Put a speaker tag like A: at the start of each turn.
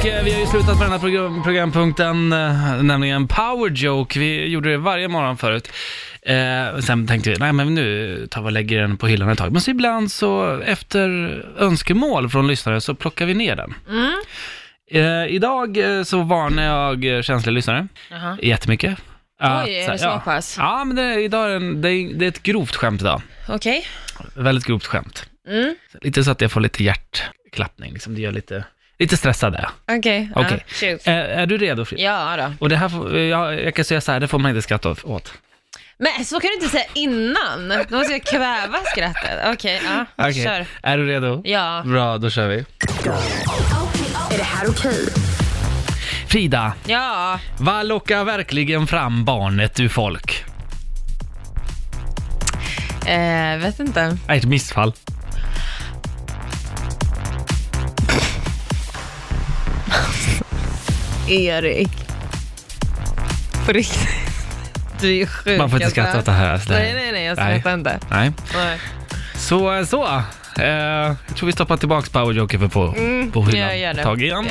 A: Och eh, vi har ju slutat med den här program, programpunkten, eh, nämligen Power Joke. Vi gjorde det varje morgon förut. Eh, sen tänkte vi, nej men nu tar vi och lägger den på hyllan ett tag. Men så ibland så, efter önskemål från lyssnare, så plockar vi ner den.
B: Mm.
A: Eh, idag eh, så varnar jag eh, känsliga lyssnare
B: Jaha.
A: jättemycket. Att
B: Oj, är
A: här,
B: det
A: ja.
B: så pass?
A: Ja, men det, är- idag är en, det, är, det är ett grovt skämt idag.
B: Okej.
A: Väldigt grovt skämt.
B: Mm.
A: Lite så att jag får lite hjärtklappning, liksom. det gör lite, lite stressad är jag.
B: Okej.
A: Okej. Eh,
B: Ja, shoot.
A: Är, är du redo Frida?
B: Ja då.
A: Och det här, får- jag, jag kan säga så här, det får man inte skratta åt- åt.
B: Men så kan du inte säga innan. Då måste jag kväva skrattet. Okej, ja.
A: Okej.
B: Kör.
A: Är du redo?
B: Ja.
A: Bra, då kör vi.
C: Är det här okej?
A: Frida,
B: Ja.
A: vad lockar verkligen fram barnet ur folk?
B: Eh, vet inte.
A: Nej, ett missfall.
B: Erik. På riktigt. Du är ju sjuk.
A: Man får inte
B: alltså.
A: skratta åt det här. alltså.
B: Nej, nej, nej. Jag skrattar inte.
A: Nej.
B: Nej.
A: Så, så. Eh, jag tror vi stoppar tillbaks Power Joker på, på hyllan
B: Mm. Jag gör det.
A: ett tag igen.
B: Jag gör det.